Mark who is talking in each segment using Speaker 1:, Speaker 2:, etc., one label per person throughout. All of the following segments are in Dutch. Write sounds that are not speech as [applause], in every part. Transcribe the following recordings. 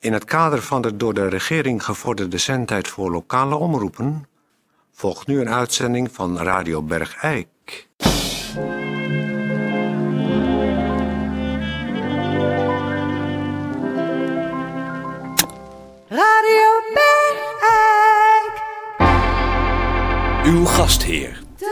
Speaker 1: In het kader van de door de regering gevorderde zendtijd voor lokale omroepen volgt nu een uitzending van Radio Bergijk.
Speaker 2: Radio Bergijk,
Speaker 3: Uw gastheer,
Speaker 2: Toon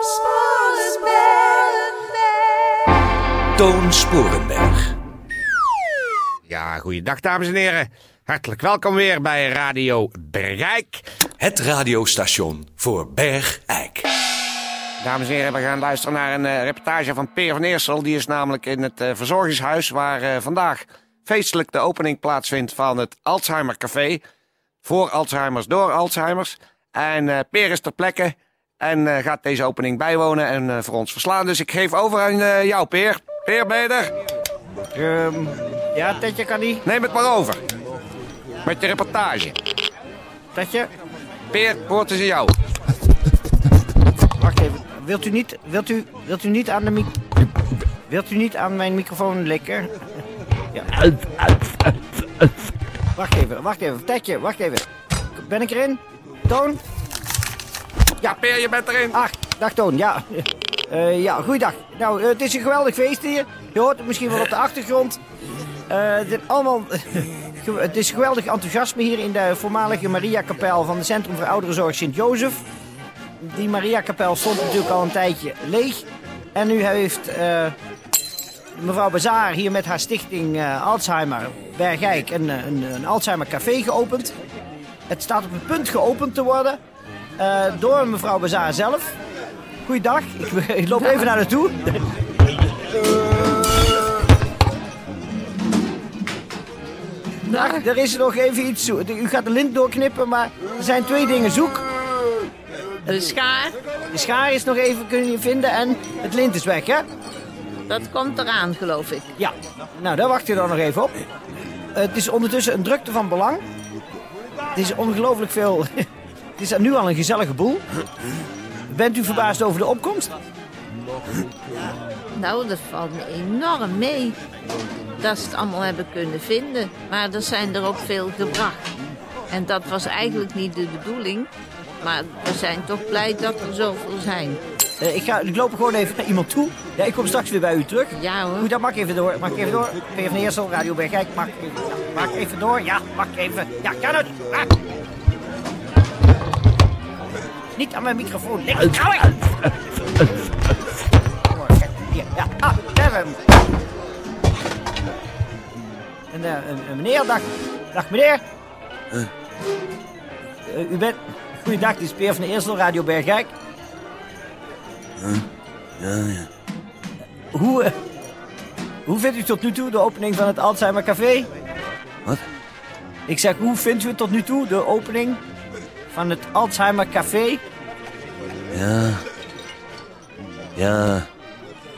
Speaker 2: Sporenberg.
Speaker 3: Toon Sporenberg.
Speaker 4: Ja, goeiedag dames en heren. Hartelijk welkom weer bij Radio Bereik.
Speaker 3: Het radiostation voor Bergijk.
Speaker 4: Dames en heren, we gaan luisteren naar een eh, reportage van Peer van Eersel. Die is namelijk in het eh, verzorgingshuis waar eh, vandaag feestelijk de opening plaatsvindt van het Alzheimer Café. Voor Alzheimers, door Alzheimers. En eh Peer is ter plekke en eh, gaat deze opening bijwonen en eh, voor ons verslaan. Dus ik geef over aan eh, jou, Peer. Peer, ben je er?
Speaker 5: Ehm, Ja, Tetje kan die.
Speaker 4: Neem het maar over. Met je reportage.
Speaker 5: Tetje,
Speaker 4: Peer, woord is aan jou.
Speaker 5: wacht even. Wilt u niet, wilt u, wilt u niet aan de mic... Wilt u niet aan mijn microfoon likken? Ja. Wacht even, wacht even. Tetje, wacht even. Ben ik erin? Toon?
Speaker 4: Ja, Peer, je bent erin.
Speaker 5: Ach, dag Toon, ja. Eh, ja, goeiedag. Nou, eh, het is een geweldig feest hier. Je hoort het misschien wel op de achtergrond. Eh, het, is allemaal, [laughs] ge- het is geweldig enthousiasme hier in de voormalige Mariakapel van het Centrum voor Ouderenzorg Sint-Jozef. Die Mariakapel stond natuurlijk al een tijdje leeg. En nu heeft eh, mevrouw Bazaar hier met haar stichting eh, Alzheimer Bergijk een, eh, een, een Alzheimer Café geopend. Het staat op het punt geopend te worden eh, door mevrouw Bazaar zelf. Goeiedag, ik, [laughs] ik loop even naar naartoe. Dag, er is nog even iets zo- U gaat de lint doorknippen, maar er zijn twee dingen zoek.
Speaker 6: De schaar,
Speaker 5: De schaar is nog even kunnen je vinden en het lint is weg, hè?
Speaker 6: dat komt eraan, geloof ik.
Speaker 5: Ja. Nou, daar wacht je dan nog even op. Het is ondertussen een drukte van belang. Het is ongelooflijk veel... [laughs] Het is nu al een gezellige boel. Bent u verbaasd over de opkomst?
Speaker 6: Nou, dat valt me enorm mee dat ze het allemaal hebben kunnen vinden. Maar er zijn er ook veel gebracht. En dat was eigenlijk niet de bedoeling. Maar we zijn toch blij dat er zoveel zijn.
Speaker 5: Eh, ik, ga, ik loop gewoon even naar iemand toe. Ja, ik kom straks weer bij u terug.
Speaker 6: Ja, hoor.
Speaker 5: Goed, dan mag ik even door. Mag ik even door? Peer van Eersel, Radio Bergijk. Mag, ik even- ja, mag ik even door? Ja, mag ik even. Ja, kan het. Ah. Niet aan mijn microfoon. Lekker. Hou ik. Hier, Ja, ah, daar hebben we hem. En, eh, een, een meneer, dag. Dag meneer. Eh, u bent... Goeiedag, dit is Peer van Eersel, Radio Bergijk. Hoe, eh, hoe vindt u tot nu toe de opening van het Alzheimer Café?
Speaker 7: Wat?
Speaker 5: Ik zeg, hoe vindt u tot nu toe de opening van het Alzheimer Café?
Speaker 7: Ja. Ja.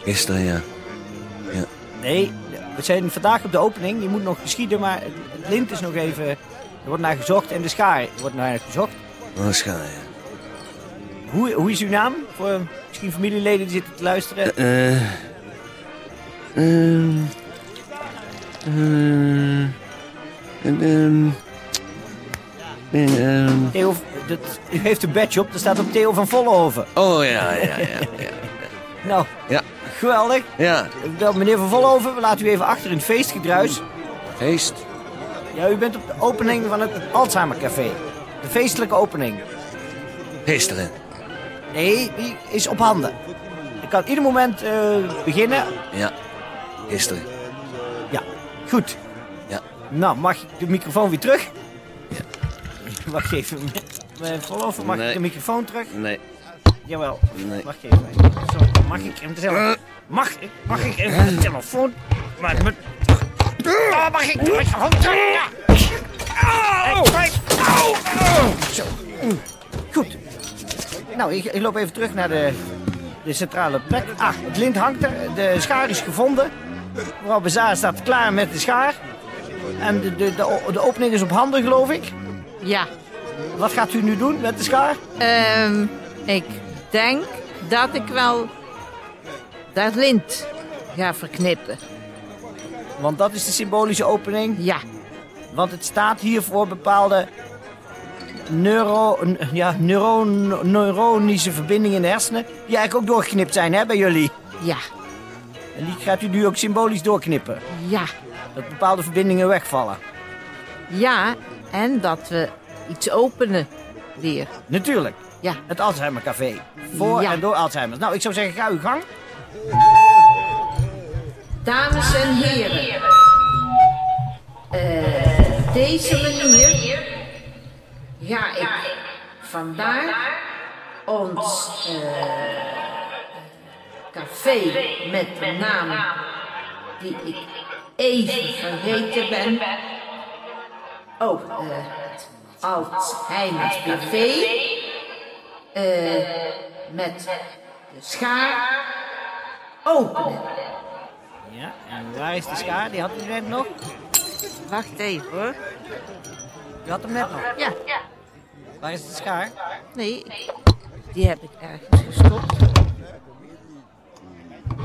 Speaker 7: Gisteren, ja.
Speaker 5: Nee, we zijn vandaag op de opening. Die moet nog geschieden, maar het lint is nog even... Er wordt naar gezocht en de schaar wordt naar gezocht.
Speaker 7: Oh, schaar, ja.
Speaker 5: Hoe, hoe is uw naam? Voor eh, misschien familieleden die zitten te luisteren.
Speaker 7: Eh. Ehm. Eh. En, ehm. En, ehm.
Speaker 5: Theo, dat, u heeft een badge op, dat staat op Theo van Vollenhoven.
Speaker 7: Oh, ja, ja, ja. Ja.
Speaker 5: Nou,
Speaker 7: ja.
Speaker 5: geweldig.
Speaker 7: ja.
Speaker 5: Nou, meneer van Vollenhoven, we laten u even achter in het feestgedruis.
Speaker 7: Feest.
Speaker 5: Ja, u bent op de opening van het Alzheimer Café. De feestelijke opening.
Speaker 7: Gisteren.
Speaker 5: Nee, die is op handen. Ik kan ieder moment eh, beginnen.
Speaker 7: Ja. Gisteren.
Speaker 5: Ja, goed.
Speaker 7: Ja.
Speaker 5: Nou, mag ik de microfoon weer terug? Ja. Wacht even. Mijn verlover, mag
Speaker 7: Nee.
Speaker 5: ik de microfoon terug?
Speaker 7: Nee.
Speaker 5: Jawel.
Speaker 7: Nee.
Speaker 5: Wacht even. Zo, mag ik hem zelf... Mag ik, mag ik hem de telefoon... Maar, maar, oh, mag ik de microfoon terug? Ja. En kijk. Au. Zo. Goed. Nou, ik, ik loop even terug naar de, de centrale plek. Ah, het lint hangt er. De schaar is gevonden. Mevrouw Bezaar staat klaar met de schaar. En de, de, de, o- de opening is op handen, geloof ik.
Speaker 6: Ja,
Speaker 5: Wat gaat u nu doen met de schaar?
Speaker 6: ehm, ik denk dat ik wel dat lint ga verknippen.
Speaker 5: Want dat is de symbolische opening.
Speaker 6: Ja,
Speaker 5: Want het staat hier voor bepaalde neuro, n- ja, neuro, neuronische verbindingen in de hersenen. Die eigenlijk ook doorgeknipt zijn hè, bij jullie.
Speaker 6: ja,
Speaker 5: En die gaat u nu ook symbolisch doorknippen.
Speaker 6: ja,
Speaker 5: Dat bepaalde verbindingen wegvallen.
Speaker 6: ja. En dat we iets openen weer.
Speaker 5: Natuurlijk.
Speaker 6: Ja.
Speaker 5: Het Alzheimer Café. Voor
Speaker 6: Ja.
Speaker 5: en door Alzheimer. Nou, ik zou zeggen, ga uw gang.
Speaker 6: Dames en heren, eh, deze manier ga ik vandaag ons eh, café met de naam die ik even vergeten ben. Oh, eh, het Alzheimer Café eh, met de schaar openen.
Speaker 5: Ja, en waar is de schaar? Die had u net nog.
Speaker 6: Wacht even hoor.
Speaker 5: Die had hem net nog.
Speaker 6: Ja,
Speaker 5: Waar is de schaar?
Speaker 6: nee. ik- Die heb ik ergens gestopt.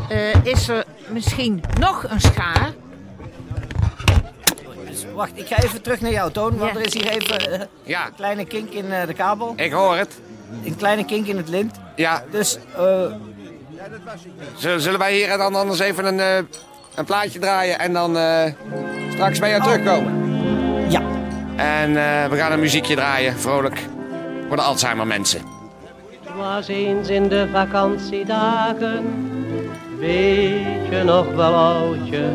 Speaker 6: Eh, is er misschien nog een schaar?
Speaker 5: Dus wacht, ik ga even terug naar jou, Toon. Want
Speaker 6: Ja.
Speaker 5: er is hier even eh,
Speaker 4: Ja,
Speaker 5: een kleine kink in eh, de kabel.
Speaker 4: ik hoor het.
Speaker 5: Een kleine kink in het lint.
Speaker 4: Ja,
Speaker 5: Dus, eh,
Speaker 4: z- zullen wij hier dan anders even een, eh, een plaatje draaien en dan eh, straks bij jou terugkomen.
Speaker 5: ja.
Speaker 4: En eh, we gaan een muziekje draaien, vrolijk. Voor de Alzheimer mensen.
Speaker 8: was eens in de vakantiedagen. Weet je nog wel, oudje,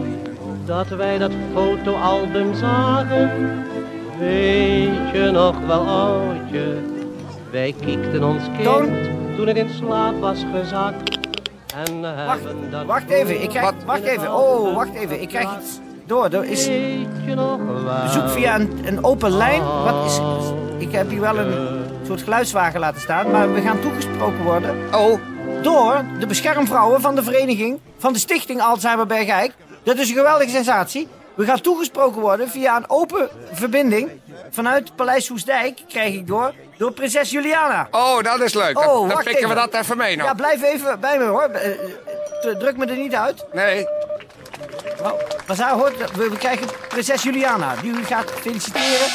Speaker 8: dat wij dat fotoalbum zagen? Weet je nog wel, oudje, wij kiekten ons
Speaker 5: Toon?
Speaker 8: kind toen het in slaap was gezakt. En hebben
Speaker 5: Wacht,
Speaker 8: dat
Speaker 5: wacht even. Ik krijg,
Speaker 4: Wat?
Speaker 5: wacht even. Oh, wacht even. Ik krijg iets door. Er is
Speaker 8: Weet je nog wel?
Speaker 5: bezoek via een, een open lijn. Wat is... Ik heb hier wel een soort geluidswagen laten staan. Maar we gaan toegesproken worden
Speaker 4: Oh,
Speaker 5: door de beschermvrouwen van de vereniging van de stichting Alzheimer Bergijk. Dat is een geweldige sensatie. We gaan toegesproken worden via een open verbinding vanuit Paleis Soesdijk, krijg ik door, door prinses Juliana.
Speaker 4: oh dat is leuk.
Speaker 5: Oh,
Speaker 4: Dan, dan
Speaker 5: wacht
Speaker 4: pikken we
Speaker 5: even.
Speaker 4: dat even mee nog.
Speaker 5: Ja, blijf even bij me hoor. Eh, eh, eh, Druk me er niet uit.
Speaker 4: Nee,
Speaker 5: Nou, maar zij hoort, we, we krijgen prinses Juliana, die u gaat feliciteren.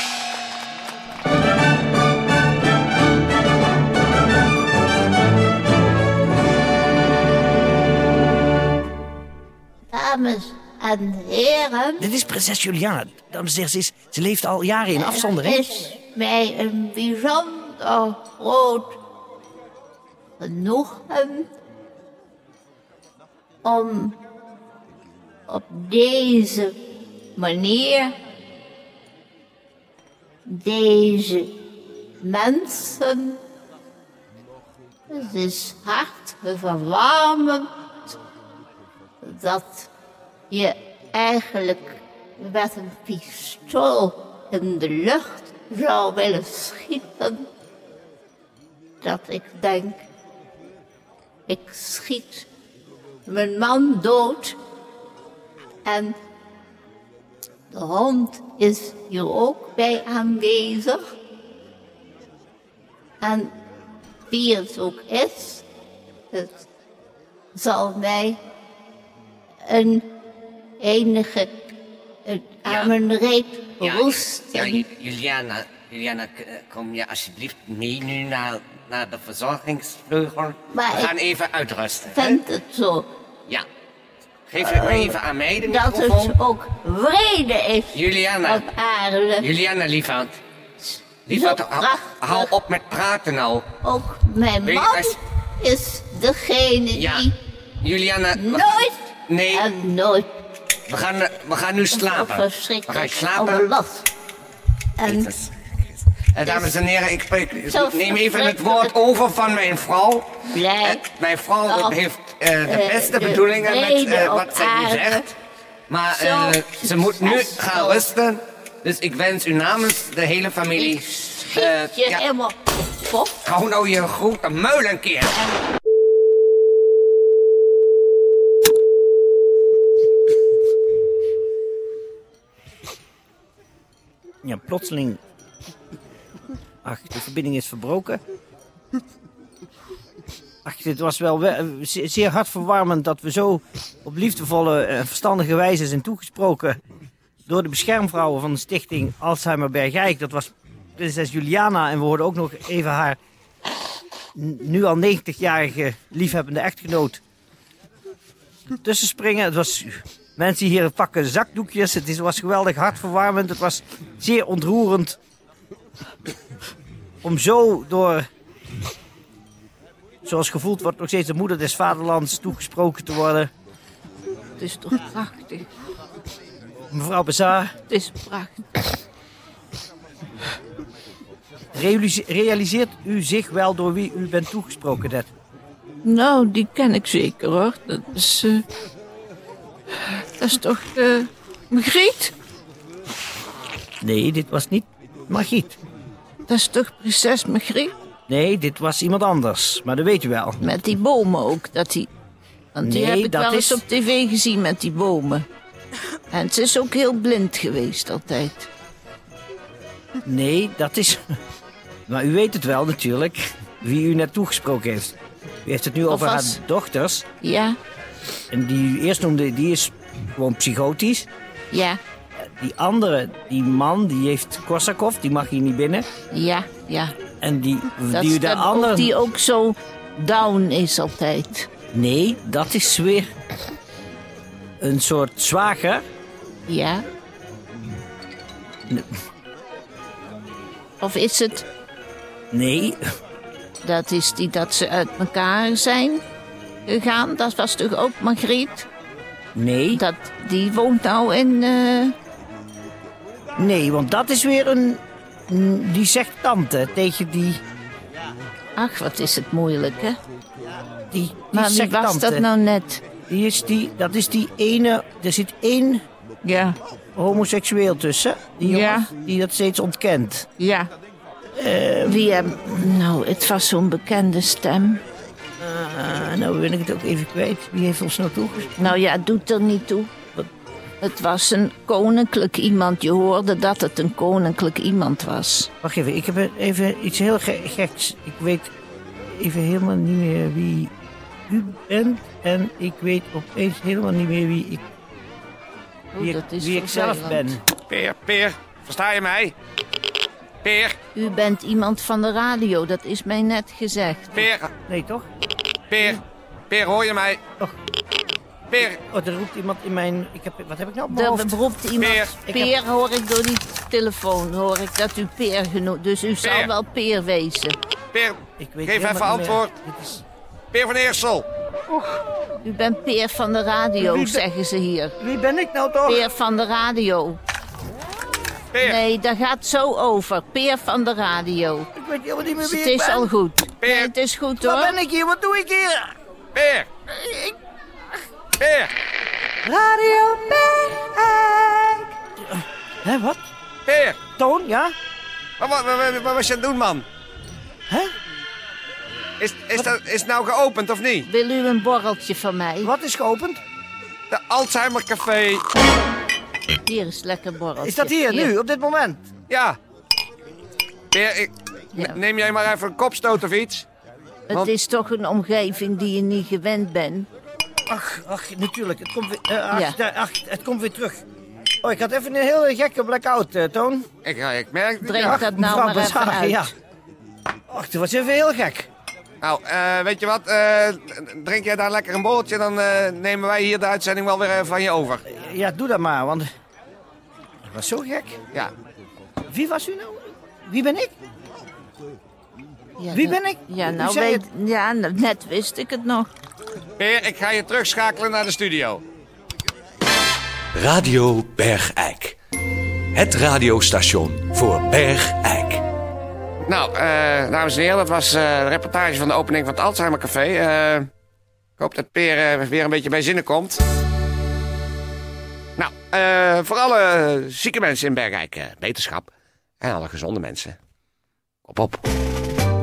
Speaker 9: Dames en heren,
Speaker 5: Dit is prinses Juliana. Dames en heren, ze, is- ze leeft al jaren in afzondering.
Speaker 9: het is mij een bijzonder groot genoegen om op deze manier deze mensen, dus het is hartverwarmend dat je eigenlijk met een pistool in de lucht zou willen schieten, dat ik denk, ik schiet mijn man dood en de hond is hier ook bij aanwezig. En wie het ook is, het zal mij een enige een, aan een reep roest.
Speaker 7: Ja, Ju- Juliana, Juliana, k- eh, kom je alsjeblieft mee nu naar, naar de verzorgingsvleugel.
Speaker 9: Maar
Speaker 7: We
Speaker 9: ik-
Speaker 7: gaan even uitrusten. hè?
Speaker 9: Vindt het zo
Speaker 7: Ja. Geef het maar even aan mij, de
Speaker 9: dat
Speaker 7: microfoon.
Speaker 9: het ook vrede is
Speaker 7: Juliana,
Speaker 9: op aarde.
Speaker 7: Juliana, lieverd.
Speaker 9: Zo
Speaker 7: Lieverd, hou,
Speaker 9: prachtig.
Speaker 7: hou op met praten nou.
Speaker 9: Ook mijn
Speaker 7: Weet je,
Speaker 9: man
Speaker 7: als-
Speaker 9: is degene
Speaker 7: Ja.
Speaker 9: die
Speaker 7: Juliana, we-
Speaker 9: nooit
Speaker 7: Nee,
Speaker 9: en nooit
Speaker 7: we gaan, we gaan nu slapen. We
Speaker 9: verschrikkelijk
Speaker 7: gaan slapen.
Speaker 9: overlast. En
Speaker 7: Eh, dames en heren, ik spreek,
Speaker 9: Zo
Speaker 7: neem even het woord over van mijn vrouw. Eh,
Speaker 9: blij
Speaker 7: Mijn vrouw
Speaker 9: Oh.
Speaker 7: heeft eh, de
Speaker 9: Eh,
Speaker 7: beste
Speaker 9: de
Speaker 7: bedoelingen met eh,
Speaker 9: vrede op
Speaker 7: wat zij nu
Speaker 9: aarde.
Speaker 7: zegt. Maar
Speaker 9: Zo
Speaker 7: eh, ze moet nu
Speaker 9: succesvol.
Speaker 7: gaan rusten. Dus ik wens u namens de hele familie...
Speaker 9: ik
Speaker 7: eh,
Speaker 9: schiet je
Speaker 7: ja,
Speaker 9: helemaal op.
Speaker 7: hou nou je grote muil een keer.
Speaker 5: Ja, plotseling. Ach, de verbinding is verbroken. Ach, dit was wel we- eh, ze- zeer hartverwarmend dat we zo op liefdevolle en verstandige wijze zijn toegesproken door de beschermvrouwen van de stichting Alzheimer Bergijk. Dat was prinses Juliana en we hoorden ook nog even haar n- nu al 90-jarige liefhebbende echtgenoot tussenspringen. Het was mensen hier pakken zakdoekjes. Het is- was geweldig hartverwarmend. Het was zeer ontroerend om zo door zoals gevoeld wordt nog steeds de moeder des vaderlands toegesproken te worden.
Speaker 6: Het is toch prachtig.
Speaker 5: Mevrouw Bazaar,
Speaker 6: Het is prachtig.
Speaker 5: realise- realiseert u zich wel door wie u bent toegesproken net?
Speaker 6: Nou, die ken ik zeker hoor. Dat is. eh, dat is toch. eh Margriet?
Speaker 5: Nee, dit was niet Margriet.
Speaker 6: Dat is toch prinses Margriet?
Speaker 5: Nee, dit was iemand anders, maar dat weet u wel.
Speaker 6: Met die bomen ook. Dat die, want die
Speaker 5: Nee,
Speaker 6: heb ik
Speaker 5: dat
Speaker 6: wel
Speaker 5: is-
Speaker 6: eens op tv gezien met die bomen. En ze is ook heel blind geweest altijd.
Speaker 5: Nee, dat is... [laughs] Maar u weet het wel natuurlijk, wie u net toegesproken heeft. U heeft het nu over
Speaker 6: Alvast.
Speaker 5: haar dochters.
Speaker 6: Ja,
Speaker 5: En die u eerst noemde, die is gewoon psychotisch.
Speaker 6: ja,
Speaker 5: Die andere, die man, die heeft Korsakov, die mag hier niet binnen.
Speaker 6: ja, ja.
Speaker 5: En die,
Speaker 6: Dat
Speaker 5: die u
Speaker 6: is
Speaker 5: daar
Speaker 6: dat ook-
Speaker 5: andere...
Speaker 6: die ook zo down is altijd.
Speaker 5: Nee, dat is weer een soort zwager.
Speaker 6: Ja. Of is het
Speaker 5: Nee,
Speaker 6: Dat is die dat ze uit elkaar zijn gegaan. Dat was toch ook Margriet?
Speaker 5: nee,
Speaker 6: Dat, die woont nou in... eh,
Speaker 5: nee, want dat is weer een... een- Die zegt tante tegen die...
Speaker 6: Ach, wat is het moeilijk, hè?
Speaker 5: Die, die
Speaker 6: Maar wie
Speaker 5: zegt
Speaker 6: was
Speaker 5: tante.
Speaker 6: dat nou net?
Speaker 5: Die is die, dat is die ene... Er zit één
Speaker 6: Ja,
Speaker 5: homoseksueel tussen. Die jongen
Speaker 6: Ja.
Speaker 5: die dat steeds ontkent.
Speaker 6: ja. Eh, Wie hem... Nou, het was zo'n bekende stem.
Speaker 5: Ah, nou ben ik het ook even kwijt. Wie heeft ons nou toegesproken?
Speaker 6: Nou ja, het doet er niet toe.
Speaker 5: Wat?
Speaker 6: Het was een koninklijk iemand. Je hoorde dat het een koninklijk iemand was.
Speaker 5: Wacht even, ik heb een- even iets heel ge- geks. Ik weet even helemaal niet meer wie u bent. En ik weet opeens helemaal niet meer wie ik,
Speaker 6: Oh,
Speaker 5: wie, ik- wie ik zelf ben.
Speaker 4: Peer, Peer, versta je mij? Peer,
Speaker 6: U bent iemand van de radio, dat is mij net gezegd.
Speaker 4: Peer,
Speaker 5: Nee, toch?
Speaker 4: Peer, Peer, hoor je mij?
Speaker 5: Och.
Speaker 4: Peer,
Speaker 5: Oh, er roept iemand in mijn... Ik heb, wat heb ik nou op mijn
Speaker 6: Er
Speaker 5: hoofd?
Speaker 6: roept iemand.
Speaker 4: Peer.
Speaker 6: Peer, hoor ik door die telefoon. Hoor ik dat u Peer genoemd. Dus u zal
Speaker 4: Peer.
Speaker 6: wel Peer wezen.
Speaker 4: Peer,
Speaker 5: Ik weet
Speaker 4: geef even
Speaker 5: helemaal niet meer.
Speaker 4: antwoord.
Speaker 5: Dit is-
Speaker 4: Peer van Eersel.
Speaker 6: U bent Peer van de radio,
Speaker 5: Wie be-
Speaker 6: zeggen ze hier.
Speaker 5: Wie ben ik nou toch?
Speaker 6: Peer van de radio.
Speaker 4: Peer,
Speaker 6: Nee, dat gaat zo over. Peer van de radio.
Speaker 5: Ik weet helemaal niet meer
Speaker 6: Dus
Speaker 5: wie
Speaker 6: het
Speaker 5: ik
Speaker 6: is
Speaker 5: ben.
Speaker 6: al goed.
Speaker 4: Peer.
Speaker 6: Nee, het is goed
Speaker 5: Waar
Speaker 6: hoor.
Speaker 5: ben ik hier? Wat doe ik hier?
Speaker 4: Peer. Peer,
Speaker 2: Radio Bergijk.
Speaker 5: Hé, wat?
Speaker 4: Peer.
Speaker 5: Toon, ja?
Speaker 4: Wat, wat, wat, wat was je aan het doen, man?
Speaker 5: Hè?
Speaker 4: Is, is, dat, is het nou geopend of niet?
Speaker 6: Wil u een borreltje van mij?
Speaker 5: Wat is geopend?
Speaker 4: De Alzheimer Café.
Speaker 6: Hier is lekker borreltje.
Speaker 5: Is dat hier, nu, op dit moment?
Speaker 4: Ja. Peer, ik-
Speaker 6: Ja.
Speaker 4: neem jij maar even een kopstoot of iets.
Speaker 6: Het is toch een omgeving die je niet gewend bent.
Speaker 5: Ach, ach, natuurlijk. Het komt weer, eh, ach,
Speaker 6: Ja.
Speaker 5: daar- ach, het komt weer terug. Oh, ik had even een hele gekke blackout, eh, Toon.
Speaker 4: Ik, ik merk het.
Speaker 6: Drink
Speaker 4: ja.
Speaker 6: dat nou
Speaker 5: Mevrouw
Speaker 6: maar even
Speaker 5: Bazaar,
Speaker 6: uit.
Speaker 5: ja. Ach, dat was even heel gek.
Speaker 4: Nou, eh, weet je wat? Eh, drink jij daar lekker een borreltje, dan eh, nemen wij hier de uitzending wel weer eh, van je over.
Speaker 5: Ja, doe dat maar, want... Het was zo gek.
Speaker 4: Ja.
Speaker 5: Wie was u nou? Wie ben ik?
Speaker 6: Ja,
Speaker 5: Wie
Speaker 6: nou-
Speaker 5: ben ik?
Speaker 6: Ja,
Speaker 5: U
Speaker 6: nou
Speaker 5: zei
Speaker 6: weet, ja, nou, net wist ik het nog.
Speaker 4: Peer, ik ga je terugschakelen naar de studio.
Speaker 3: Radio Bergijk. Het radiostation voor Bergijk.
Speaker 4: Nou, eh, dames en heren, dat was eh, de reportage van de opening van het Alzheimer Café. Eh, ik hoop dat Peer eh, weer een beetje bij zinnen komt. Nou, eh, voor alle eh, zieke mensen in Bergrijk, eh, wetenschap. En alle gezonde mensen. Op op.